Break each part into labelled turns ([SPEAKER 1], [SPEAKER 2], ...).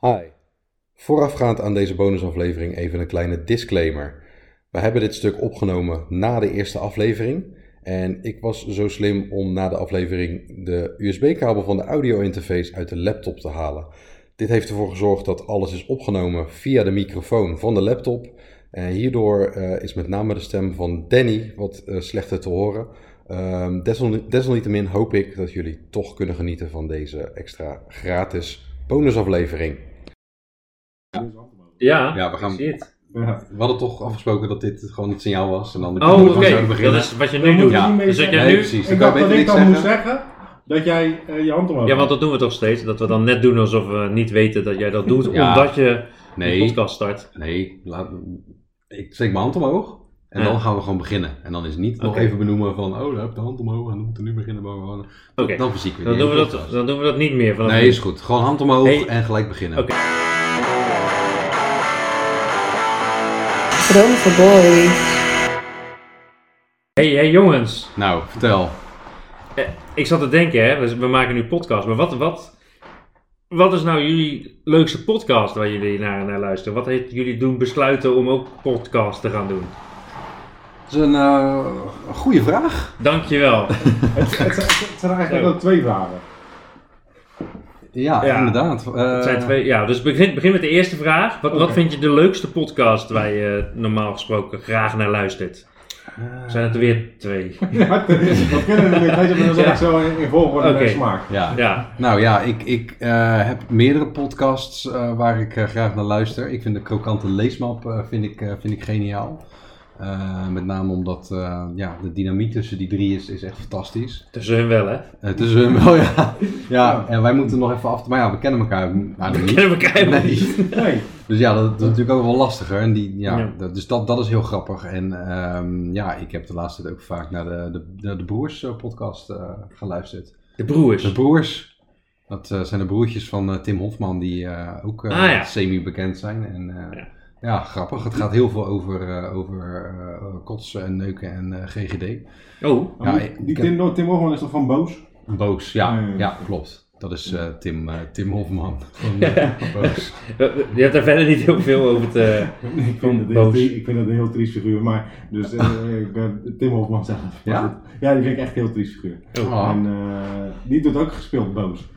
[SPEAKER 1] Hi. Voorafgaand aan deze bonusaflevering even een kleine disclaimer. We hebben dit stuk opgenomen na de eerste aflevering. En ik was zo slim om na de aflevering de USB-kabel van de audio-interface uit de laptop te halen. Dit heeft ervoor gezorgd dat alles is opgenomen via de microfoon van de laptop. En hierdoor eh, is met name de stem van Danny wat eh, slechter te horen. Ehm, desal- desalniettemin hoop ik dat jullie toch kunnen genieten van deze extra gratis bonusaflevering.
[SPEAKER 2] Ja,
[SPEAKER 1] Ja, we gaan-
[SPEAKER 2] shit.
[SPEAKER 3] Ja.
[SPEAKER 1] We hadden toch afgesproken dat dit gewoon het signaal was. En dan
[SPEAKER 2] Oh, oké. Dat is wat je nu doet.
[SPEAKER 3] moeten
[SPEAKER 1] Ja.
[SPEAKER 3] niet mee
[SPEAKER 2] Dus dat
[SPEAKER 3] zeggen.
[SPEAKER 2] jij
[SPEAKER 1] Nee,
[SPEAKER 2] nu...
[SPEAKER 1] precies. Dan
[SPEAKER 3] Ik
[SPEAKER 1] kan
[SPEAKER 3] dacht
[SPEAKER 1] je
[SPEAKER 3] dat
[SPEAKER 1] beter
[SPEAKER 3] ik
[SPEAKER 1] niks
[SPEAKER 3] dan moest
[SPEAKER 1] zeggen.
[SPEAKER 3] zeggen dat jij eh, je hand omhoog
[SPEAKER 2] Ja, want dat doen we toch steeds. Dat we dan net doen alsof we niet weten dat jij dat doet.
[SPEAKER 1] Ja.
[SPEAKER 2] Omdat je de
[SPEAKER 1] Nee,
[SPEAKER 2] podcast start.
[SPEAKER 1] nee. Laat, ik steek mijn hand omhoog. En
[SPEAKER 2] Ja.
[SPEAKER 1] dan gaan we gewoon beginnen. En dan is niet nog
[SPEAKER 2] Oké.
[SPEAKER 1] even benoemen van... Oh, daar heb ik de hand omhoog en we moeten nu beginnen. bla, bla, bla.
[SPEAKER 2] Oké,
[SPEAKER 1] Dan fysiek weer.
[SPEAKER 2] dan,
[SPEAKER 1] die
[SPEAKER 2] doen
[SPEAKER 1] hele
[SPEAKER 2] we dat,
[SPEAKER 1] podcast.
[SPEAKER 2] dan doen we dat niet meer. Vanaf
[SPEAKER 1] Nee,
[SPEAKER 2] nu.
[SPEAKER 1] is goed. Gewoon hand omhoog
[SPEAKER 2] Hey.
[SPEAKER 1] en gelijk beginnen.
[SPEAKER 2] Oké.
[SPEAKER 4] Dromen voor boys.
[SPEAKER 2] hey, hey, jongens.
[SPEAKER 1] Nou, vertel.
[SPEAKER 2] Eh, Ik zat te denken, hè. We, we maken nu podcast. Maar wat, wat, wat is nou jullie leukste podcast waar jullie naar, naar luisteren? Wat heeft jullie doen besluiten om ook podcast te gaan doen?
[SPEAKER 1] Dat is een eh, goede vraag.
[SPEAKER 2] Dankjewel.
[SPEAKER 3] Het, het, zijn- het zijn eigenlijk
[SPEAKER 2] Zo.
[SPEAKER 3] ook twee vragen.
[SPEAKER 1] Ja,
[SPEAKER 2] Ja.
[SPEAKER 1] inderdaad. Eh,
[SPEAKER 2] Het zijn twee, ja, dus begin, begin met de eerste vraag. Wat, wat
[SPEAKER 3] Oké.
[SPEAKER 2] vind je de leukste podcast waar je normaal gesproken graag naar luistert?
[SPEAKER 1] eh,
[SPEAKER 2] Zijn het er weer twee?
[SPEAKER 3] Ja, dat kennen we niet. Deze mensen
[SPEAKER 2] Ja.
[SPEAKER 3] echt zo in, in volgorde
[SPEAKER 2] Oké.
[SPEAKER 3] en smaak.
[SPEAKER 1] ja.
[SPEAKER 2] Ja,
[SPEAKER 1] Nou ja, ik, ik eh, heb meerdere podcasts eh, waar ik eh, graag naar luister. Ik vind de krokante leesmap eh, vind ik, eh, vind ik geniaal. Eh, met name omdat eh, ja, de dynamiek tussen die drie is, is echt fantastisch.
[SPEAKER 2] tussen hun wel, hè?
[SPEAKER 1] Eh, tussen hun wel, ja. ja. En wij moeten nog even af... Maar ja, we kennen elkaar nou, nog niet.
[SPEAKER 2] Kennen we elkaar helemaal niet.
[SPEAKER 3] Nee.
[SPEAKER 1] Dus ja, dat, dat is natuurlijk ook wel lastiger. En die, ja,
[SPEAKER 2] Ja.
[SPEAKER 1] dat- dus dat, dat is heel grappig. En ehm, ja, ik heb de laatste tijd ook vaak naar de, de, de, de Broers eh, podcast eh, geluisterd.
[SPEAKER 2] De broers.
[SPEAKER 1] De Broers, dat eh, zijn de broertjes van eh, Tim Hofman, die eh, ook eh,
[SPEAKER 2] Ah, ja.
[SPEAKER 1] semi-bekend zijn. En eh,
[SPEAKER 2] Ja.
[SPEAKER 1] ja. grappig. Het gaat heel veel over, eh, over eh, kotsen en neuken en eh, GGD.
[SPEAKER 2] Oh,
[SPEAKER 3] Maar
[SPEAKER 1] Ja,
[SPEAKER 3] die-
[SPEAKER 1] ik-
[SPEAKER 3] die
[SPEAKER 1] ik
[SPEAKER 3] Tim, Tim Hofman is toch van boos?
[SPEAKER 1] Boos, ja,
[SPEAKER 3] Ja, ja.
[SPEAKER 1] ja klopt. Dat is eh, Tim, eh, Tim Hofman van eh, Boos.
[SPEAKER 2] eh, je hebt daar verder niet heel veel over te...
[SPEAKER 3] Ik
[SPEAKER 2] Van
[SPEAKER 3] vind, het heel,
[SPEAKER 2] boos.
[SPEAKER 3] tri- ik vind dat een heel triest figuur, maar dus, eh, ik ben Tim Hofman zelf. Maar
[SPEAKER 1] Ja?
[SPEAKER 3] goed. ja, die vind ik echt een heel triest figuur.
[SPEAKER 1] Oh,
[SPEAKER 3] En eh, die doet ook gespeeld boos.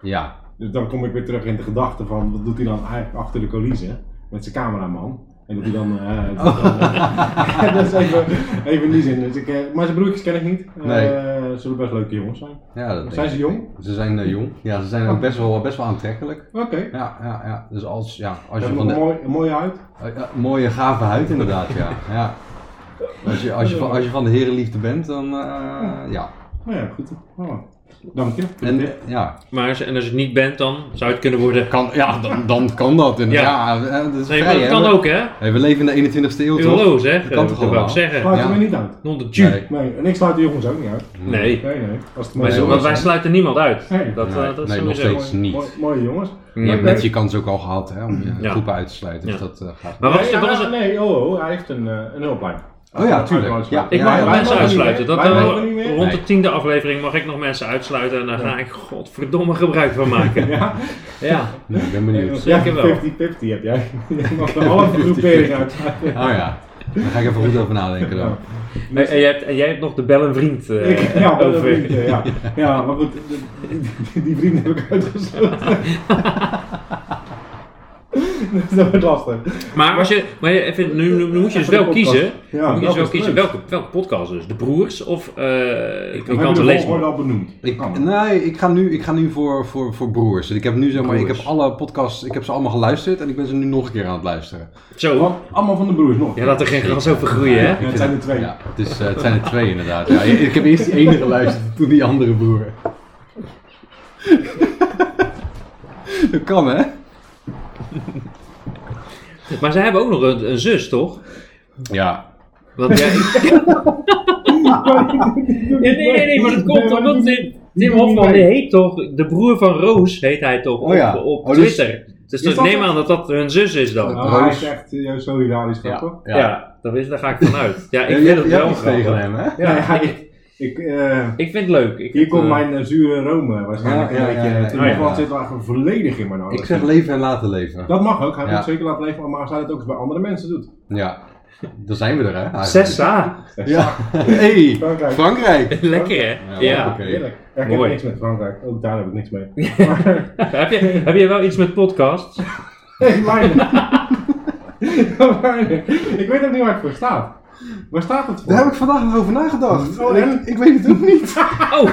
[SPEAKER 1] ja,
[SPEAKER 3] Dus dan kom ik weer terug in de gedachte van wat doet hij dan eigenlijk achter de coulissen met zijn cameraman. En dat hij dan. eh,
[SPEAKER 1] Oh.
[SPEAKER 3] dat is even, even die zin. Dus ik, eh, maar zijn broertjes ken ik niet. Eh,
[SPEAKER 1] Nee.
[SPEAKER 3] Ze zullen best leuke jongens zijn.
[SPEAKER 1] Ja, dat denk
[SPEAKER 3] Zijn
[SPEAKER 1] ik.
[SPEAKER 3] ze jong?
[SPEAKER 1] Ze zijn eh, jong. Ja, ze zijn ook
[SPEAKER 3] Oh.
[SPEAKER 1] best wel, best wel aantrekkelijk.
[SPEAKER 3] Oké.
[SPEAKER 1] Ja, ja, ja. Dus als, ja, als
[SPEAKER 3] Ze
[SPEAKER 1] je
[SPEAKER 3] hebben
[SPEAKER 1] van de...
[SPEAKER 3] nog een mooi, een mooie huid.
[SPEAKER 1] eh, ja, mooie, gave huid inderdaad, ja. ja. Als, je, als, je van, als je van de herenliefde bent, dan eh, ja.
[SPEAKER 3] Nou ja, goed. Oh. Dank je.
[SPEAKER 1] En, eh, ja.
[SPEAKER 2] Maar als, en als je het niet bent, dan zou het kunnen worden...
[SPEAKER 1] Kan, ja dan, dan kan dat inderdaad. Ja, eh, dat is
[SPEAKER 2] Nee, maar
[SPEAKER 1] vrij,
[SPEAKER 2] dat
[SPEAKER 1] hè.
[SPEAKER 2] kan
[SPEAKER 1] we,
[SPEAKER 2] ook, hè?
[SPEAKER 1] Hey, we leven in de 21ste eeuw, toch?
[SPEAKER 2] Hallo, zeg.
[SPEAKER 1] Dat
[SPEAKER 2] Dat
[SPEAKER 1] kan
[SPEAKER 2] kan
[SPEAKER 1] toch
[SPEAKER 2] wou ik
[SPEAKER 1] allemaal?
[SPEAKER 2] zeggen.
[SPEAKER 3] Sluit
[SPEAKER 1] Ja.
[SPEAKER 3] hem er niet uit.
[SPEAKER 2] Non de Jew.
[SPEAKER 1] Nee.
[SPEAKER 3] Nee, en ik sluit de jongens ook niet uit.
[SPEAKER 2] Nee.
[SPEAKER 3] Nee, nee. Als het
[SPEAKER 2] Wij,
[SPEAKER 1] Nee,
[SPEAKER 3] mooi-
[SPEAKER 1] hoor.
[SPEAKER 2] want wij sluiten niemand uit.
[SPEAKER 3] Nee.
[SPEAKER 2] Dat, eh,
[SPEAKER 1] Nee,
[SPEAKER 2] dat
[SPEAKER 1] nee,
[SPEAKER 2] is
[SPEAKER 1] nog
[SPEAKER 2] sowieso.
[SPEAKER 1] steeds niet.
[SPEAKER 3] mooi- mooie jongens.
[SPEAKER 1] Je hebt
[SPEAKER 2] Nee.
[SPEAKER 1] net je kans ook al gehad, hè, om je
[SPEAKER 2] Ja.
[SPEAKER 1] groepen uit te sluiten. Dus
[SPEAKER 2] Ja.
[SPEAKER 1] dat eh, gaat...
[SPEAKER 2] Maar wat is,
[SPEAKER 3] nee,
[SPEAKER 2] er- wat is
[SPEAKER 3] ah,
[SPEAKER 2] er-
[SPEAKER 3] nee, oh, oh, hij heeft een, eh, een hulplijn.
[SPEAKER 1] Oh ja, tuurlijk. Ja,
[SPEAKER 3] Uitsluiten.
[SPEAKER 2] Ik
[SPEAKER 1] ja,
[SPEAKER 2] mag
[SPEAKER 1] ja,
[SPEAKER 2] nog
[SPEAKER 3] wij
[SPEAKER 2] mensen
[SPEAKER 3] mogen niet
[SPEAKER 2] uitsluiten.
[SPEAKER 3] meer.
[SPEAKER 2] Dat,
[SPEAKER 3] Wij
[SPEAKER 2] eh,
[SPEAKER 3] mogen niet meer.
[SPEAKER 2] rond de
[SPEAKER 1] Nee.
[SPEAKER 2] tiende aflevering mag ik nog mensen uitsluiten. En daar ga ik godverdomme gebruik van maken.
[SPEAKER 3] Ja.
[SPEAKER 2] Ja.
[SPEAKER 1] Nee, ik ben benieuwd.
[SPEAKER 2] Zeker wel.
[SPEAKER 3] 50-50 heb jij. Je mag de halve groepering uit.
[SPEAKER 1] Oh ja, daar ga ik even goed over nadenken dan.
[SPEAKER 2] Nee, en, jij hebt, en jij hebt nog de bel en vriend. eh,
[SPEAKER 3] Ik, ja, dat
[SPEAKER 2] over.
[SPEAKER 3] vriend, eh, ja. ja, maar goed, die, die vrienden heb ik uitgesloten. Dus dat wordt lastig.
[SPEAKER 2] Maar, als je, maar je- even, nu, nu, nu moet je dus wel
[SPEAKER 3] Even de podcast.
[SPEAKER 2] kiezen.
[SPEAKER 3] Ja,
[SPEAKER 2] moet je dus
[SPEAKER 3] dat
[SPEAKER 2] wel
[SPEAKER 3] is
[SPEAKER 2] kiezen.
[SPEAKER 3] leuk.
[SPEAKER 2] Welke, welke podcast dus? De Broers of eh ik
[SPEAKER 3] We
[SPEAKER 2] kan
[SPEAKER 3] hebben
[SPEAKER 2] te
[SPEAKER 3] de
[SPEAKER 2] lezen.
[SPEAKER 3] volgorde al benoemd.
[SPEAKER 1] Ik,
[SPEAKER 3] Kan.
[SPEAKER 1] nee, ik ga nu, ik ga nu voor, voor, voor broers. Ik heb nu zeg maar, ik
[SPEAKER 2] Broers.
[SPEAKER 1] heb alle podcasts, ik heb ze allemaal geluisterd en ik ben ze nu nog een keer aan het luisteren.
[SPEAKER 2] Zo.
[SPEAKER 3] Want allemaal van de broers nog.
[SPEAKER 2] Ja, laat er geen gras over groeien, hè?
[SPEAKER 3] Ja, het zijn er twee.
[SPEAKER 1] Ja, het, is, eh, het zijn er twee inderdaad. Ja, ik heb eerst die ene geluisterd, toen die andere broer. Dat kan hè?
[SPEAKER 2] Maar ze hebben ook nog een, een zus, toch?
[SPEAKER 1] Ja.
[SPEAKER 2] Want jij... nee, nee, nee, nee, maar dat komt
[SPEAKER 3] Nee, maar
[SPEAKER 2] omdat
[SPEAKER 3] dat
[SPEAKER 2] Tim, Tim Hofman, die heet toch, de broer van Roos heet hij toch
[SPEAKER 1] Oh ja.
[SPEAKER 2] op, op
[SPEAKER 1] Oh, dus-
[SPEAKER 2] Twitter. Dus,
[SPEAKER 3] Is
[SPEAKER 2] ik
[SPEAKER 3] dat
[SPEAKER 2] neem
[SPEAKER 3] zo?
[SPEAKER 2] aan dat dat hun zus is dan.
[SPEAKER 3] Nou, hij is echt eh, zo hilarisch
[SPEAKER 1] Ja,
[SPEAKER 3] grappig.
[SPEAKER 2] Ja, dat is, daar ga ik vanuit. Ja, ik
[SPEAKER 1] je
[SPEAKER 2] vind
[SPEAKER 1] hebt,
[SPEAKER 2] het
[SPEAKER 1] je hebt
[SPEAKER 2] wel
[SPEAKER 1] iets tegen
[SPEAKER 2] grappig.
[SPEAKER 1] hem hè?
[SPEAKER 3] Ja, hij- Ik, eh,
[SPEAKER 2] Ik vind het leuk. Ik
[SPEAKER 3] hier
[SPEAKER 2] vind,
[SPEAKER 3] komt
[SPEAKER 2] eh,
[SPEAKER 3] mijn eh, zure Rome waarschijnlijk
[SPEAKER 1] Ja, ja,
[SPEAKER 3] een beetje.
[SPEAKER 1] ja, ja.
[SPEAKER 3] In
[SPEAKER 2] Oh, ja.
[SPEAKER 3] ieder geval zit er eigenlijk volledig in mijn
[SPEAKER 1] Ik
[SPEAKER 3] ouders.
[SPEAKER 1] zeg leven en laten leven.
[SPEAKER 3] Dat mag ook, hij moet
[SPEAKER 1] Ja.
[SPEAKER 3] het zeker laten leven, maar als hij dat ook eens bij andere mensen doet.
[SPEAKER 1] Ja, daar zijn we er hè. eigenlijk.
[SPEAKER 2] 6a.
[SPEAKER 1] Ja. Hey,
[SPEAKER 3] Frankrijk.
[SPEAKER 1] Frankrijk.
[SPEAKER 2] Lekker hè?
[SPEAKER 1] Ja,
[SPEAKER 2] Ja.
[SPEAKER 1] oké.
[SPEAKER 3] Heerlijk. Ja, ik
[SPEAKER 2] Mooi.
[SPEAKER 3] heb niks met Frankrijk, ook daar heb ik niks mee. Maar,
[SPEAKER 2] Heb, je, heb je wel iets met podcasts?
[SPEAKER 3] hey, Leiden. Leiden. ik weet ook niet waar het voor staat. Waar staat het voor?
[SPEAKER 1] Daar heb ik vandaag nog over nagedacht.
[SPEAKER 3] Oh, en?
[SPEAKER 1] ik, ik weet het ook niet.
[SPEAKER 2] Oh!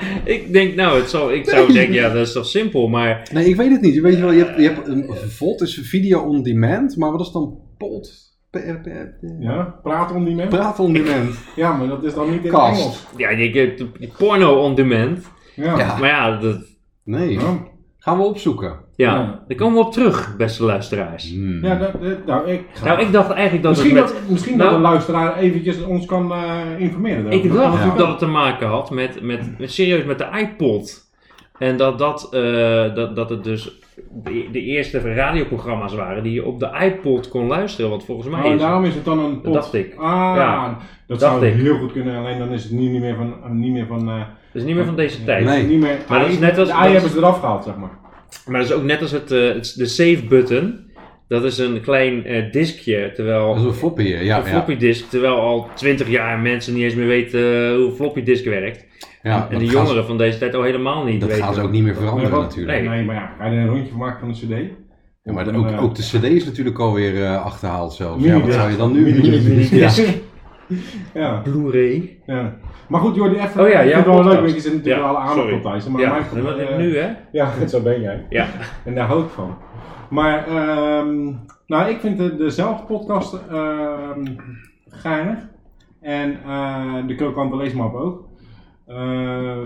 [SPEAKER 2] ik denk, nou, het zal, ik zou zeggen, ja, dat is toch simpel, maar
[SPEAKER 1] Nee, ik weet het niet. Je weet wel, je hebt, je hebt een VOD, is video on demand, maar wat is dan pod? P- p- p-
[SPEAKER 3] Ja, praat om die mensen.
[SPEAKER 1] Praat on demand.
[SPEAKER 3] Ja, maar dat is dan niet in het
[SPEAKER 1] Kast.
[SPEAKER 3] Engels.
[SPEAKER 2] ja, je hebt porno on demand.
[SPEAKER 3] Ja.
[SPEAKER 1] Ja.
[SPEAKER 2] Maar ja, dat,
[SPEAKER 1] Nee.
[SPEAKER 3] Ja.
[SPEAKER 1] Gaan we opzoeken. Hmm.
[SPEAKER 2] ja,
[SPEAKER 3] Ja.
[SPEAKER 2] daar komen we op terug, beste luisteraars.
[SPEAKER 3] Ja, dat, dat- nou, ik ga-
[SPEAKER 2] Nou, ik dacht eigenlijk dat
[SPEAKER 3] misschien
[SPEAKER 2] het met...
[SPEAKER 3] dat, misschien
[SPEAKER 2] nou-
[SPEAKER 3] dat een luisteraar eventjes ons kan eh, informeren. daarover.
[SPEAKER 2] Ik dacht
[SPEAKER 1] Ja.
[SPEAKER 2] dat het te maken had met, met, met serieus met de iPod. En dat, dat, eh, dat, dat het dus de, de eerste radioprogramma's waren die je op de iPod kon luisteren. Want volgens mij
[SPEAKER 3] Oh, en
[SPEAKER 2] is
[SPEAKER 3] daarom is het dan een pot.
[SPEAKER 2] Dat dacht ik.
[SPEAKER 3] Ah,
[SPEAKER 2] Ja.
[SPEAKER 3] dat
[SPEAKER 2] Dacht
[SPEAKER 3] zou
[SPEAKER 2] ik.
[SPEAKER 3] heel goed kunnen, alleen dan is het niet, niet meer van... Niet meer van eh,
[SPEAKER 2] het is niet meer van deze tijd.
[SPEAKER 1] Nee.
[SPEAKER 3] niet meer,
[SPEAKER 2] Maar dat is
[SPEAKER 3] ei-
[SPEAKER 2] net als-
[SPEAKER 3] De
[SPEAKER 2] dat
[SPEAKER 3] ei
[SPEAKER 2] is-
[SPEAKER 3] hebben ze eraf gehaald, zeg maar.
[SPEAKER 2] Maar dat is ook net als het, eh, het- de save button. Dat is een klein eh, diskje, terwijl
[SPEAKER 1] Dat is een floppy hier. Ja,
[SPEAKER 2] een floppy disk, terwijl al 20 jaar mensen niet eens meer weten eh, hoe een floppy disk werkt.
[SPEAKER 1] ja. ja
[SPEAKER 2] en
[SPEAKER 1] dat
[SPEAKER 2] de
[SPEAKER 1] gaan ze-
[SPEAKER 2] jongeren van deze tijd al helemaal niet
[SPEAKER 1] Dat
[SPEAKER 2] weten.
[SPEAKER 1] gaan ze ook niet meer veranderen
[SPEAKER 3] Nee, want-
[SPEAKER 1] natuurlijk.
[SPEAKER 2] Nee.
[SPEAKER 3] Nee, maar ja, ga je er een rondje van maken van een cd?
[SPEAKER 1] Ja, maar
[SPEAKER 3] Dan,
[SPEAKER 1] ook,
[SPEAKER 3] eh,
[SPEAKER 1] ook de cd is natuurlijk alweer eh, achterhaald zelfs.
[SPEAKER 3] Mini-
[SPEAKER 1] Ja, wat zou je dan nu...
[SPEAKER 3] mini-
[SPEAKER 2] mini-
[SPEAKER 1] Ja.
[SPEAKER 3] Ja,
[SPEAKER 2] Blu-ray.
[SPEAKER 3] ja. Maar goed, Jordi, even...
[SPEAKER 2] Oh ja,
[SPEAKER 3] ik
[SPEAKER 2] jouw
[SPEAKER 3] vind het wel leuk,
[SPEAKER 2] podcast.
[SPEAKER 3] want je zit natuurlijk
[SPEAKER 2] Ja,
[SPEAKER 3] alle aandacht
[SPEAKER 2] sorry.
[SPEAKER 3] op Thijs. Maar
[SPEAKER 2] Ja,
[SPEAKER 3] mijn-
[SPEAKER 2] dat
[SPEAKER 3] eh,
[SPEAKER 2] nu hè?
[SPEAKER 3] Ja, zo ben jij.
[SPEAKER 2] Ja.
[SPEAKER 3] En daar hou ik van. Maar, ehm, nou, ik vind de, de zelfpodcast ehm, geinig. En eh, de krokante leesmap ook. Eh,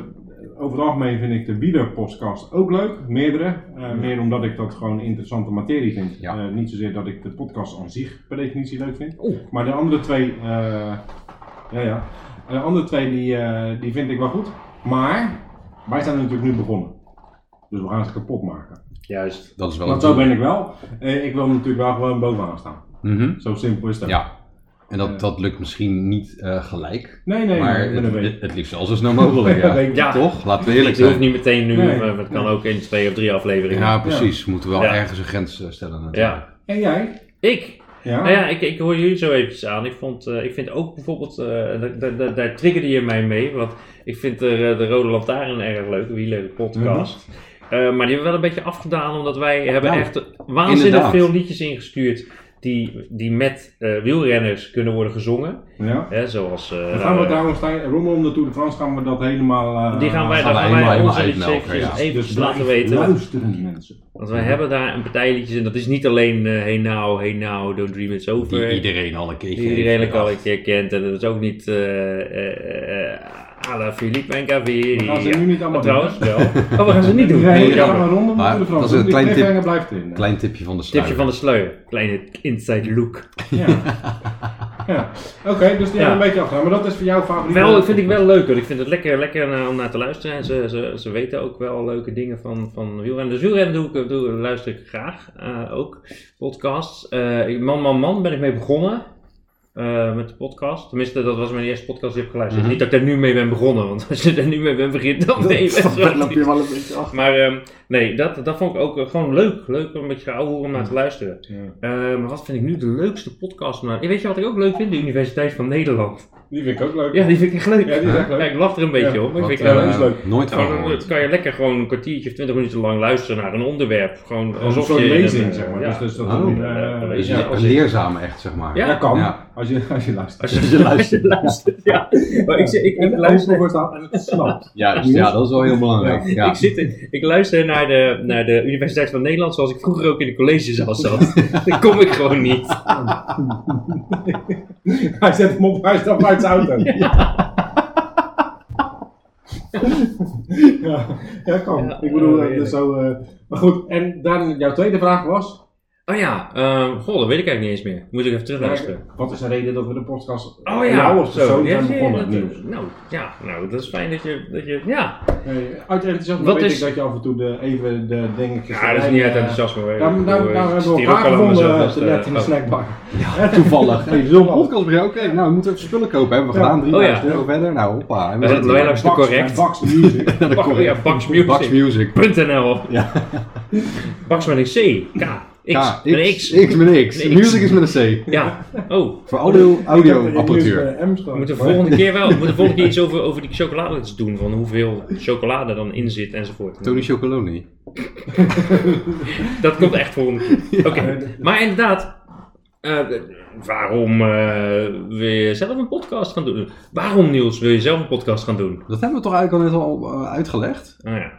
[SPEAKER 3] over het algemeen vind ik de wielerpodcast ook leuk. Meerdere. Eh, Meer omdat ik dat gewoon interessante materie vind.
[SPEAKER 1] Ja.
[SPEAKER 3] Eh, niet zozeer dat ik de podcast aan zich per definitie leuk vind.
[SPEAKER 2] Oeh.
[SPEAKER 3] Maar de andere twee, eh, ja, ja. de andere twee die, eh, die vind ik wel goed. Maar wij zijn natuurlijk nu begonnen. Dus we gaan ze kapot maken.
[SPEAKER 2] Juist.
[SPEAKER 1] Dat is wel
[SPEAKER 3] Want
[SPEAKER 1] een
[SPEAKER 3] zo ben ik wel. Eh, ik wil natuurlijk wel gewoon bovenaan staan.
[SPEAKER 1] Mhm.
[SPEAKER 3] Zo simpel is dat.
[SPEAKER 1] Ja. En dat,
[SPEAKER 3] Eh.
[SPEAKER 1] dat lukt misschien niet eh, gelijk.
[SPEAKER 3] Nee, nee,
[SPEAKER 1] maar
[SPEAKER 3] nee, ik ben
[SPEAKER 1] het,
[SPEAKER 3] een
[SPEAKER 1] het, liefst al zo snel mogelijk. Ja.
[SPEAKER 3] week.
[SPEAKER 2] Ja.
[SPEAKER 1] Toch? Laten we eerlijk
[SPEAKER 2] Het hoeft
[SPEAKER 1] zijn.
[SPEAKER 2] niet meteen nu, eh,
[SPEAKER 3] Nee.
[SPEAKER 2] maar het kan ook in twee of drie afleveringen.
[SPEAKER 1] Ja, precies. We moeten wel
[SPEAKER 2] Ja.
[SPEAKER 1] ergens een grens eh, stellen natuurlijk.
[SPEAKER 2] Ja.
[SPEAKER 3] En jij?
[SPEAKER 2] Ik?
[SPEAKER 3] Ja.
[SPEAKER 2] Nou ja, ik, ik hoor jullie zo eventjes aan. Ik, vond, eh, ik vind ook bijvoorbeeld, eh, da- da- da- daar triggerde je mij mee, want ik vind de, eh, de Rode Lantaarn erg leuk, een hele podcast. Eh, maar die hebben we wel een beetje afgedaan, omdat wij hebben
[SPEAKER 1] Nou,
[SPEAKER 2] echt waanzinnig
[SPEAKER 1] inderdaad.
[SPEAKER 2] veel liedjes ingestuurd die, die met eh, wielrenners kunnen worden gezongen.
[SPEAKER 3] Ja.
[SPEAKER 2] Hè, zoals... eh,
[SPEAKER 3] Dan gaan we trouwens tij- rondom de Tour de France gaan we dat helemaal... eh,
[SPEAKER 2] die gaan wij,
[SPEAKER 1] Ah, gaan
[SPEAKER 2] daar
[SPEAKER 1] wij
[SPEAKER 2] gaan wij
[SPEAKER 1] helemaal
[SPEAKER 2] onze
[SPEAKER 1] uitmelken,
[SPEAKER 2] liedjes
[SPEAKER 1] ja.
[SPEAKER 2] even
[SPEAKER 3] dus
[SPEAKER 2] laten
[SPEAKER 3] blijf
[SPEAKER 2] weten.
[SPEAKER 3] Luisteren mensen.
[SPEAKER 2] Want wij hebben daar een partij liedjes en dat is niet alleen eh Hey Now, Hey Now, Don't Dream It's Over.
[SPEAKER 1] Die iedereen al een eh, keer
[SPEAKER 2] die iedereen ook al een keer kent. En dat is ook niet eh eh eh à la Philippe en Caveri.
[SPEAKER 3] We gaan ze nu niet allemaal
[SPEAKER 2] trouwens wel. Oh, we gaan ze niet doen.
[SPEAKER 3] Nee,
[SPEAKER 2] Nee,
[SPEAKER 3] we gaan
[SPEAKER 2] jammer.
[SPEAKER 3] maar rondom de
[SPEAKER 1] Maar
[SPEAKER 3] Tour de
[SPEAKER 1] dat is
[SPEAKER 3] France.
[SPEAKER 1] een
[SPEAKER 3] Die
[SPEAKER 1] klein tip.
[SPEAKER 3] cliffhanger blijft erin. hè?
[SPEAKER 1] Klein tipje van de sluier.
[SPEAKER 2] Tipje van de sleur. Kleine inside look.
[SPEAKER 3] Ja. ja. Oké, dus die
[SPEAKER 2] Ja.
[SPEAKER 3] hebben we een beetje afgaan. Maar dat is voor jou favoriet.
[SPEAKER 2] Wel, ik vind ik wel leuk hoor. Ik vind het lekker, lekker eh, om naar te luisteren. En ze, ze, ze weten ook wel leuke dingen van, van wielrennen. Dus wielrennen doe ik, doe, luister ik graag. eh, ook podcasts. Eh, ik- man, man, man ben ik mee begonnen. eh, met de podcast. Tenminste, dat was mijn eerste podcast die ik heb geluisterd.
[SPEAKER 1] Mhm.
[SPEAKER 2] Niet dat ik daar nu mee ben begonnen, want als je er nu mee bent begint, dan ben je best wel niet.
[SPEAKER 1] wel een beetje achter.
[SPEAKER 2] Maar ehm, nee, dat, dat vond ik ook eh, gewoon leuk. Leuk om een beetje ouwe hoer om naar te luisteren.
[SPEAKER 3] Ja.
[SPEAKER 2] Eh, maar wat vind ik nu de leukste podcast? om naar- Weet je wat ik ook leuk vind? De Universiteit van Nederland.
[SPEAKER 3] Die vind ik ook leuk.
[SPEAKER 2] Ja, die vind ik echt leuk.
[SPEAKER 3] Ja, die is echt
[SPEAKER 2] Ja,
[SPEAKER 3] leuk.
[SPEAKER 2] ik lach er een beetje
[SPEAKER 3] Ja.
[SPEAKER 2] om. Ik
[SPEAKER 1] Wat,
[SPEAKER 2] vind
[SPEAKER 1] eh,
[SPEAKER 2] het leuk.
[SPEAKER 3] is leuk.
[SPEAKER 1] Nooit van
[SPEAKER 2] Nou, dan- dan
[SPEAKER 1] gehoord.
[SPEAKER 2] kan je lekker gewoon een kwartiertje of twintig minuten lang luisteren naar een onderwerp. Gewoon
[SPEAKER 3] Als
[SPEAKER 2] alsof
[SPEAKER 3] een soort
[SPEAKER 2] je in
[SPEAKER 3] lezing,
[SPEAKER 2] een,
[SPEAKER 3] zeg maar.
[SPEAKER 2] ja.
[SPEAKER 3] Dus, dus dat
[SPEAKER 1] Oh.
[SPEAKER 3] eh,
[SPEAKER 2] Een
[SPEAKER 1] Is
[SPEAKER 2] lezing.
[SPEAKER 3] ja.
[SPEAKER 2] Ja,
[SPEAKER 1] een leerzaam echt, zeg maar.
[SPEAKER 2] Ja.
[SPEAKER 3] Ja, kan.
[SPEAKER 1] Ja.
[SPEAKER 3] Als, je, als je luistert.
[SPEAKER 2] als je luistert, luistert. Ja. Maar ik, zit- ik, ik
[SPEAKER 3] en
[SPEAKER 2] luister,
[SPEAKER 3] overhoor staat en het snapt.
[SPEAKER 1] Juist, ja, dat is wel heel belangrijk. Ja.
[SPEAKER 2] ik, zit in- ik luister naar de, naar de Universiteit van Nederland zoals ik vroeger ook in de collegezaal zat. Daar kom ik gewoon niet.
[SPEAKER 3] Hij zet hem op, hij stapt uit zijn auto. Ja, ja, kan.
[SPEAKER 2] Ja,
[SPEAKER 3] ik bedoel,
[SPEAKER 2] eh, oh,
[SPEAKER 3] eh, dus zo. eh, maar goed, en dan jouw tweede vraag was.
[SPEAKER 2] Oh ja, ehm, goh, dat weet ik eigenlijk niet eens meer. Moet ik even terugluisteren.
[SPEAKER 3] Wat is de reden dat we de podcast
[SPEAKER 2] Oh ja,
[SPEAKER 3] jou als persoon
[SPEAKER 2] ja,
[SPEAKER 3] zijn
[SPEAKER 2] zie je,
[SPEAKER 3] begonnen?
[SPEAKER 2] dat-
[SPEAKER 3] Niels?
[SPEAKER 2] nou, ja, nou, dat is fijn dat je, dat je ja.
[SPEAKER 3] Nee, uit enthousiasme
[SPEAKER 2] Wat
[SPEAKER 3] weet
[SPEAKER 2] is-
[SPEAKER 3] ik dat je af en toe de, even de dingetjes...
[SPEAKER 2] Ja, dat is
[SPEAKER 3] erbij,
[SPEAKER 2] niet uit
[SPEAKER 3] eh,
[SPEAKER 2] enthousiasme. hoor.
[SPEAKER 3] Daar,
[SPEAKER 2] Ik
[SPEAKER 3] daar,
[SPEAKER 2] bedoel,
[SPEAKER 3] daar
[SPEAKER 2] ik
[SPEAKER 3] hebben we
[SPEAKER 2] stier ook
[SPEAKER 3] elkaar
[SPEAKER 2] al aan
[SPEAKER 3] gevonden
[SPEAKER 2] mezelf,
[SPEAKER 3] eh,
[SPEAKER 2] dus,
[SPEAKER 3] net in de
[SPEAKER 2] eh,
[SPEAKER 3] snackbar.
[SPEAKER 1] Ja, toevallig. Even zo'n podcast begin. Oké, nou, we moeten even spullen kopen. Hebben we
[SPEAKER 3] Ja.
[SPEAKER 1] gedaan.
[SPEAKER 2] Oh ja.
[SPEAKER 1] 3000 euro verder. Nou, hoppa. En we
[SPEAKER 2] Eh,
[SPEAKER 1] zitten
[SPEAKER 2] Loyola
[SPEAKER 1] hier.
[SPEAKER 2] is te
[SPEAKER 3] Bucks-
[SPEAKER 2] correct.
[SPEAKER 3] Bucks Music.
[SPEAKER 1] Ja, dat
[SPEAKER 2] Bak-
[SPEAKER 1] komt.
[SPEAKER 2] ja, Bax Music.
[SPEAKER 1] Bax Music.
[SPEAKER 2] .nl.
[SPEAKER 1] Ja.
[SPEAKER 2] Bax met een C. K. X.
[SPEAKER 1] K,
[SPEAKER 2] Met een
[SPEAKER 1] X.
[SPEAKER 2] X.
[SPEAKER 1] X met een X.
[SPEAKER 2] Met een X.
[SPEAKER 1] Music is met een C.
[SPEAKER 2] Ja. Oh,
[SPEAKER 1] Voor audio,
[SPEAKER 3] Ik heb
[SPEAKER 1] audio-apparatuur.
[SPEAKER 3] er in nieuws bij
[SPEAKER 2] we
[SPEAKER 3] M
[SPEAKER 2] moeten de
[SPEAKER 3] staan.
[SPEAKER 2] volgende keer wel. We moeten de volgende keer iets over, over die chocolades doen. Van hoeveel chocolade er dan in zit enzovoort.
[SPEAKER 1] Tony Chocoloni.
[SPEAKER 2] Dat komt echt volgende keer. Oké. Maar inderdaad. eh, waarom eh, wil je zelf een podcast gaan doen? Waarom Niels wil je zelf een podcast gaan doen?
[SPEAKER 1] Dat hebben we toch eigenlijk al net al eh, uitgelegd?
[SPEAKER 2] Nou ja.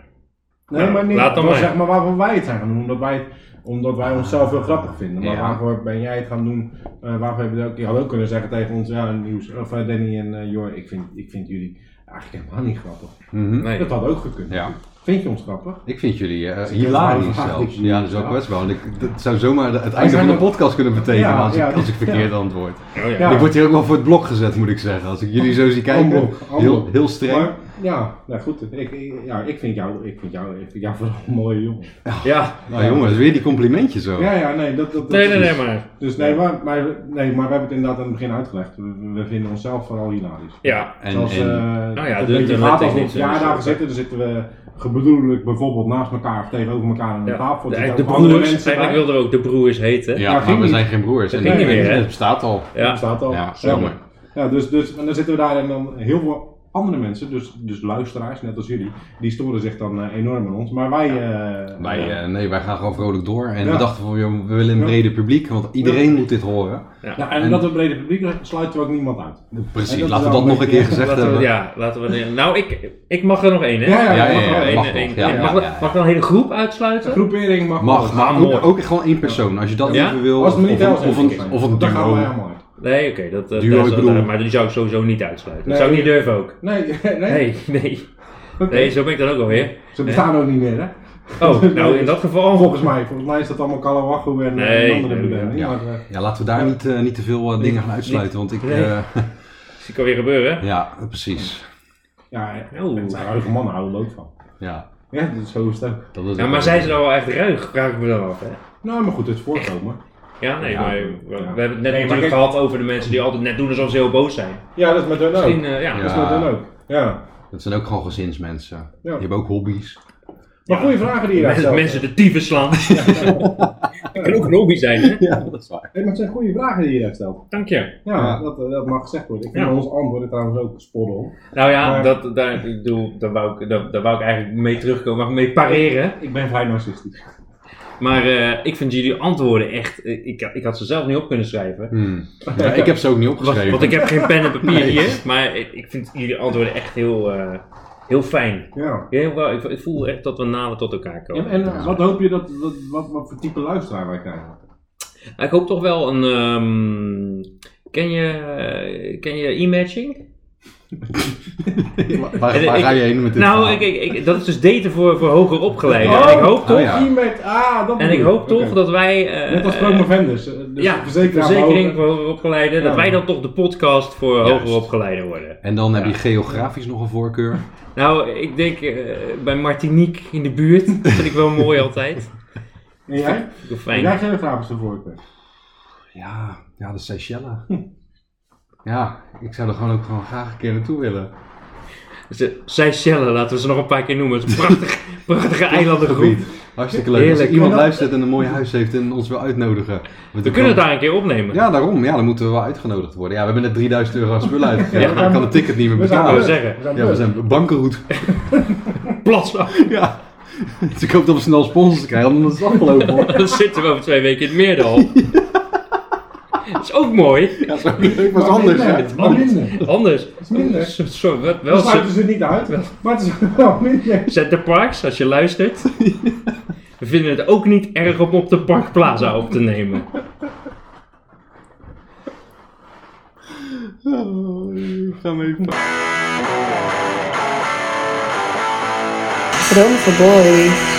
[SPEAKER 3] Nee,
[SPEAKER 2] Nou,
[SPEAKER 3] maar niet.
[SPEAKER 2] laat dan
[SPEAKER 3] maar
[SPEAKER 2] maar.
[SPEAKER 3] zeg maar waarom wij het zijn gaan doen. Omdat wij, omdat wij onszelf heel grappig vinden. Maar
[SPEAKER 1] Ja.
[SPEAKER 3] waarvoor ben jij het gaan doen? Eh waarvoor hebben we ook, je had ook kunnen zeggen tegen ons, ja, nieuws. Of eh, Danny en eh Jor, ik vind, ik vind jullie eigenlijk helemaal niet grappig.
[SPEAKER 1] Mhm.
[SPEAKER 2] Nee.
[SPEAKER 3] Dat had ook gekund.
[SPEAKER 1] Ja.
[SPEAKER 3] Vind je ons grappig?
[SPEAKER 1] Ik vind jullie eh
[SPEAKER 3] is een
[SPEAKER 1] hilarisch
[SPEAKER 3] vraag.
[SPEAKER 1] zelfs. Ja, dat is ook
[SPEAKER 3] Ja.
[SPEAKER 1] best wel. En ik, dat zou zomaar de- het
[SPEAKER 3] Wij
[SPEAKER 1] einde
[SPEAKER 3] zijn
[SPEAKER 1] van de
[SPEAKER 3] ook-
[SPEAKER 1] podcast kunnen betekenen
[SPEAKER 3] Ja,
[SPEAKER 1] als,
[SPEAKER 3] ja.
[SPEAKER 1] ik, als ik verkeerd antwoord.
[SPEAKER 2] Oh ja.
[SPEAKER 3] Ja.
[SPEAKER 1] Ik word hier ook wel voor het blok gezet, moet ik zeggen. Als ik jullie zo zie kijken,
[SPEAKER 3] Amblok, amblok.
[SPEAKER 1] heel, heel streng.
[SPEAKER 3] Maar, ja, nou goed. Ik, ik- ja, ik vind jou, ik vind jou, ik vind jou vooral een mooie jongen.
[SPEAKER 2] Ja.
[SPEAKER 1] nou jongens, weer die complimentjes zo.
[SPEAKER 3] Ja, ja, nee, dat, dat, dat
[SPEAKER 2] Nee, nee, nee, maar.
[SPEAKER 3] Dus nee maar, maar, nee, maar we hebben het inderdaad aan het begin uitgelegd. We, we- we vinden onszelf vooral hilarisch.
[SPEAKER 2] Ja.
[SPEAKER 1] En,
[SPEAKER 3] Zoals,
[SPEAKER 1] en-
[SPEAKER 2] Nou
[SPEAKER 3] nou
[SPEAKER 2] ja,
[SPEAKER 3] ja,
[SPEAKER 2] de-
[SPEAKER 3] de,
[SPEAKER 2] de
[SPEAKER 3] gaat als we
[SPEAKER 2] laptechniek
[SPEAKER 3] op verjaardagen
[SPEAKER 2] is-
[SPEAKER 3] zitten, dan zitten we gebedoelelijk bijvoorbeeld naast elkaar of tegenover elkaar aan de
[SPEAKER 2] ja.
[SPEAKER 3] tafel.
[SPEAKER 2] De,
[SPEAKER 3] Er
[SPEAKER 2] de
[SPEAKER 3] zitten ook andere
[SPEAKER 2] broers,
[SPEAKER 3] mensen
[SPEAKER 2] eigenlijk
[SPEAKER 3] bij.
[SPEAKER 2] wilde er ook de broers heten.
[SPEAKER 1] ja,
[SPEAKER 3] Ja,
[SPEAKER 1] maar
[SPEAKER 3] ging
[SPEAKER 1] we
[SPEAKER 3] niet.
[SPEAKER 1] zijn geen broers.
[SPEAKER 2] Dat
[SPEAKER 1] En
[SPEAKER 2] ging
[SPEAKER 1] ik-
[SPEAKER 2] niet meer, hè?
[SPEAKER 1] Het bestaat al.
[SPEAKER 3] Dat staat al.
[SPEAKER 1] Ja, jammer.
[SPEAKER 3] Ja, dus, dus en dan zitten we daar en dan heel veel andere mensen, dus, dus luisteraars, net als jullie, die storen zich dan eh, enorm aan ons. Maar wij... eh,
[SPEAKER 1] Wij,
[SPEAKER 3] ja.
[SPEAKER 1] eh, nee, wij gaan gewoon vrolijk door. En
[SPEAKER 3] Ja.
[SPEAKER 1] we dachten, van, joh, we willen een
[SPEAKER 3] Ja.
[SPEAKER 1] breder publiek, want iedereen moet dit horen.
[SPEAKER 3] Ja, en omdat we een brede publiek hebben, sluiten we ook niemand uit. En
[SPEAKER 1] Precies,
[SPEAKER 3] dat
[SPEAKER 1] laten
[SPEAKER 3] is
[SPEAKER 1] we dat
[SPEAKER 3] wel
[SPEAKER 1] nog een keer
[SPEAKER 3] een beetje-
[SPEAKER 1] gezegd
[SPEAKER 2] Laten
[SPEAKER 1] hebben.
[SPEAKER 2] we, ja, laten we de- Nou, ik, ik mag er nog één, hè?
[SPEAKER 3] Ja,
[SPEAKER 1] ja, ja,
[SPEAKER 3] mag
[SPEAKER 1] ja,
[SPEAKER 3] wel.
[SPEAKER 1] ja,
[SPEAKER 2] Eén-
[SPEAKER 1] mag
[SPEAKER 2] één-
[SPEAKER 1] nog.
[SPEAKER 2] één-
[SPEAKER 1] Ja,
[SPEAKER 2] mag,
[SPEAKER 1] ja, ja.
[SPEAKER 2] mag ik dan een hele groep uitsluiten?
[SPEAKER 3] Groepering mag
[SPEAKER 1] Mag,
[SPEAKER 3] wel.
[SPEAKER 1] maar
[SPEAKER 2] mooi.
[SPEAKER 1] ook, ook gewoon één persoon. Als je dat
[SPEAKER 2] Ja?
[SPEAKER 1] even wil.
[SPEAKER 3] Als het me niet
[SPEAKER 1] of,
[SPEAKER 3] heel
[SPEAKER 1] een- of,
[SPEAKER 3] erg
[SPEAKER 1] een,
[SPEAKER 3] zijn.
[SPEAKER 1] of een
[SPEAKER 3] Dan gaan
[SPEAKER 1] duo.
[SPEAKER 3] we helemaal uit.
[SPEAKER 2] Nee, oké. dat, eh, dat,
[SPEAKER 1] Duo,
[SPEAKER 2] dat-
[SPEAKER 1] ik bedoel-
[SPEAKER 2] dat- maar die zou ik sowieso niet uitsluiten. Dat
[SPEAKER 3] Nee.
[SPEAKER 2] zou ik niet durven ook.
[SPEAKER 3] Nee, nee.
[SPEAKER 2] Nee, nee. Nee, zo ben ik dan ook alweer.
[SPEAKER 3] Ze bestaan ook niet meer, hè?
[SPEAKER 2] Oh, nou in dat geval.
[SPEAKER 3] Volgens mij, volgens mij is dat allemaal Kalawaggo en,
[SPEAKER 2] Nee,
[SPEAKER 3] en andere
[SPEAKER 2] nee,
[SPEAKER 3] benaming.
[SPEAKER 1] ja.
[SPEAKER 3] Maar, eh,
[SPEAKER 1] Ja, laten we daar niet, eh, niet te veel eh, dingen gaan uitsluiten. Want ik.
[SPEAKER 2] Nee.
[SPEAKER 1] eh,
[SPEAKER 2] Dat kan weer gebeuren.
[SPEAKER 1] ja, precies.
[SPEAKER 3] ja,
[SPEAKER 2] Oeh.
[SPEAKER 3] mensen, huidige mannen houden er ook van.
[SPEAKER 1] Ja,
[SPEAKER 3] Ja, dat is zo is het ook.
[SPEAKER 1] dat is
[SPEAKER 2] Ja, Nou, maar zijn ze dan wel echt ruig? Vraag ik me dan af. Hè?
[SPEAKER 3] Nou, maar goed, het is voorkomen.
[SPEAKER 2] Ja, nee,
[SPEAKER 1] Ja.
[SPEAKER 2] maar we, we
[SPEAKER 3] Ja.
[SPEAKER 2] hebben het net
[SPEAKER 3] maar
[SPEAKER 2] natuurlijk
[SPEAKER 3] kijk-
[SPEAKER 2] gehad over de mensen die altijd net doen alsof ze heel boos zijn.
[SPEAKER 3] Ja, dat is met hun ook.
[SPEAKER 2] Misschien, eh, ja.
[SPEAKER 1] Ja.
[SPEAKER 3] Dat is met hun ook. Ja.
[SPEAKER 1] Dat zijn ook gewoon gezinsmensen. Die
[SPEAKER 3] Ja.
[SPEAKER 1] hebben ook hobby's.
[SPEAKER 2] Ja.
[SPEAKER 3] Maar goede vragen die je daar
[SPEAKER 2] Mensen,
[SPEAKER 3] stelt.
[SPEAKER 2] mensen de dieven slaan. Dat kan ook een hobby zijn, hè?
[SPEAKER 1] Ja, dat is waar.
[SPEAKER 3] Nee, maar het zijn goede vragen die je daar stelt.
[SPEAKER 2] Dank je.
[SPEAKER 3] Ja,
[SPEAKER 1] Ja.
[SPEAKER 3] Dat, eh, dat mag gezegd worden. Ik vind
[SPEAKER 2] Ja.
[SPEAKER 3] onze antwoorden trouwens ook spot
[SPEAKER 2] Nou ja,
[SPEAKER 3] Maar-
[SPEAKER 2] dat, daar, ik bedoel, daar, wou ik, daar, daar wou ik eigenlijk mee terugkomen, maar mee pareren.
[SPEAKER 3] Ik ben vrij narcistisch.
[SPEAKER 2] Maar eh, ik vind jullie antwoorden echt, eh, ik, ik had ze zelf niet op kunnen schrijven.
[SPEAKER 1] Hmm. Ja, ik heb ze ook niet
[SPEAKER 2] Want,
[SPEAKER 1] opgeschreven.
[SPEAKER 2] want ik heb geen pen en papier
[SPEAKER 1] Nee.
[SPEAKER 2] hier, maar ik, ik vind jullie antwoorden echt heel, eh, heel fijn.
[SPEAKER 3] Ja.
[SPEAKER 2] Heel, wel, ik, ik voel echt dat we nader tot elkaar
[SPEAKER 3] En,
[SPEAKER 2] komen.
[SPEAKER 3] en
[SPEAKER 1] Ja.
[SPEAKER 3] wat hoop je dat, dat wat, wat voor type luisteraar wij krijgen?
[SPEAKER 2] Ik hoop toch wel een, ehm, ken je, eh, ken je e-matching?
[SPEAKER 1] waar, waar
[SPEAKER 2] En ik-
[SPEAKER 1] ga je heen met dit?
[SPEAKER 2] Nou,
[SPEAKER 1] verhaal?
[SPEAKER 2] ik, ik, ik- dat is dus daten voor, voor hoger opgeleiden.
[SPEAKER 3] Oh,
[SPEAKER 2] ik hoop toch,
[SPEAKER 1] oh ja.
[SPEAKER 3] Iemand, ah, dat
[SPEAKER 2] en ik
[SPEAKER 3] bedoel
[SPEAKER 2] hoop toch
[SPEAKER 3] Oké.
[SPEAKER 2] dat wij... eh,
[SPEAKER 3] Net als Promovendus. Dus
[SPEAKER 2] ja,
[SPEAKER 3] verzekeraar
[SPEAKER 2] verzekering
[SPEAKER 3] verhogen.
[SPEAKER 2] voor hoger opgeleiden. Dat
[SPEAKER 3] Ja.
[SPEAKER 2] wij dan toch de podcast voor
[SPEAKER 1] Juist.
[SPEAKER 2] hoger opgeleiden worden.
[SPEAKER 1] En dan heb je geografisch nog een voorkeur.
[SPEAKER 2] Nou, ik denk eh, bij Martinique in de buurt. Dat vind ik wel mooi altijd.
[SPEAKER 3] En jij?
[SPEAKER 2] Vind ik wel
[SPEAKER 3] En
[SPEAKER 2] fijn.
[SPEAKER 3] jij geografische voorkeur.
[SPEAKER 1] Ja, ja de Seychelles. Ja, ik zou er gewoon ook gewoon graag een keer naartoe willen.
[SPEAKER 2] Ze- Seychellen, laten we ze nog een paar keer noemen. Het is een prachtig, prachtige eilandengroep.
[SPEAKER 1] Gebied. Hartstikke leuk. Als
[SPEAKER 2] Heerlijk.
[SPEAKER 1] er iemand luistert en een mooi huis heeft en ons wil uitnodigen. Want
[SPEAKER 2] We
[SPEAKER 1] ik
[SPEAKER 2] kunnen het
[SPEAKER 1] kan-
[SPEAKER 2] daar een keer opnemen.
[SPEAKER 1] Ja, daarom. Ja, dan moeten we wel uitgenodigd worden. Ja, we hebben net 3000 euro aan spullen uitgegeven.
[SPEAKER 2] Ja.
[SPEAKER 1] maar ik kan het ticket niet meer
[SPEAKER 3] We zijn
[SPEAKER 2] wou
[SPEAKER 1] betalen.
[SPEAKER 3] terug.
[SPEAKER 2] zeggen.
[SPEAKER 3] zijn
[SPEAKER 1] Ja, we
[SPEAKER 3] terug.
[SPEAKER 1] zijn bankenroet.
[SPEAKER 2] Plots,
[SPEAKER 1] Ja. Dus ik hoop dat we snel sponsors krijgen, anders is het afgelopen hoor.
[SPEAKER 2] dan zitten we over twee weken in het meerdal. Dat is ook mooi.
[SPEAKER 1] Ja, zo leuk was
[SPEAKER 3] Maar
[SPEAKER 1] anders.
[SPEAKER 3] minder,
[SPEAKER 1] hè?
[SPEAKER 3] Maar minder.
[SPEAKER 2] Anders.
[SPEAKER 3] is minder.
[SPEAKER 2] Zo- zo- wel-
[SPEAKER 3] Dan
[SPEAKER 2] wel,
[SPEAKER 3] sluiten ze het niet uit. Maar het is wel minder.
[SPEAKER 2] Zet Parks, als je luistert. We vinden het ook niet erg om op de Park Plaza op te nemen.
[SPEAKER 5] Droom voor boys.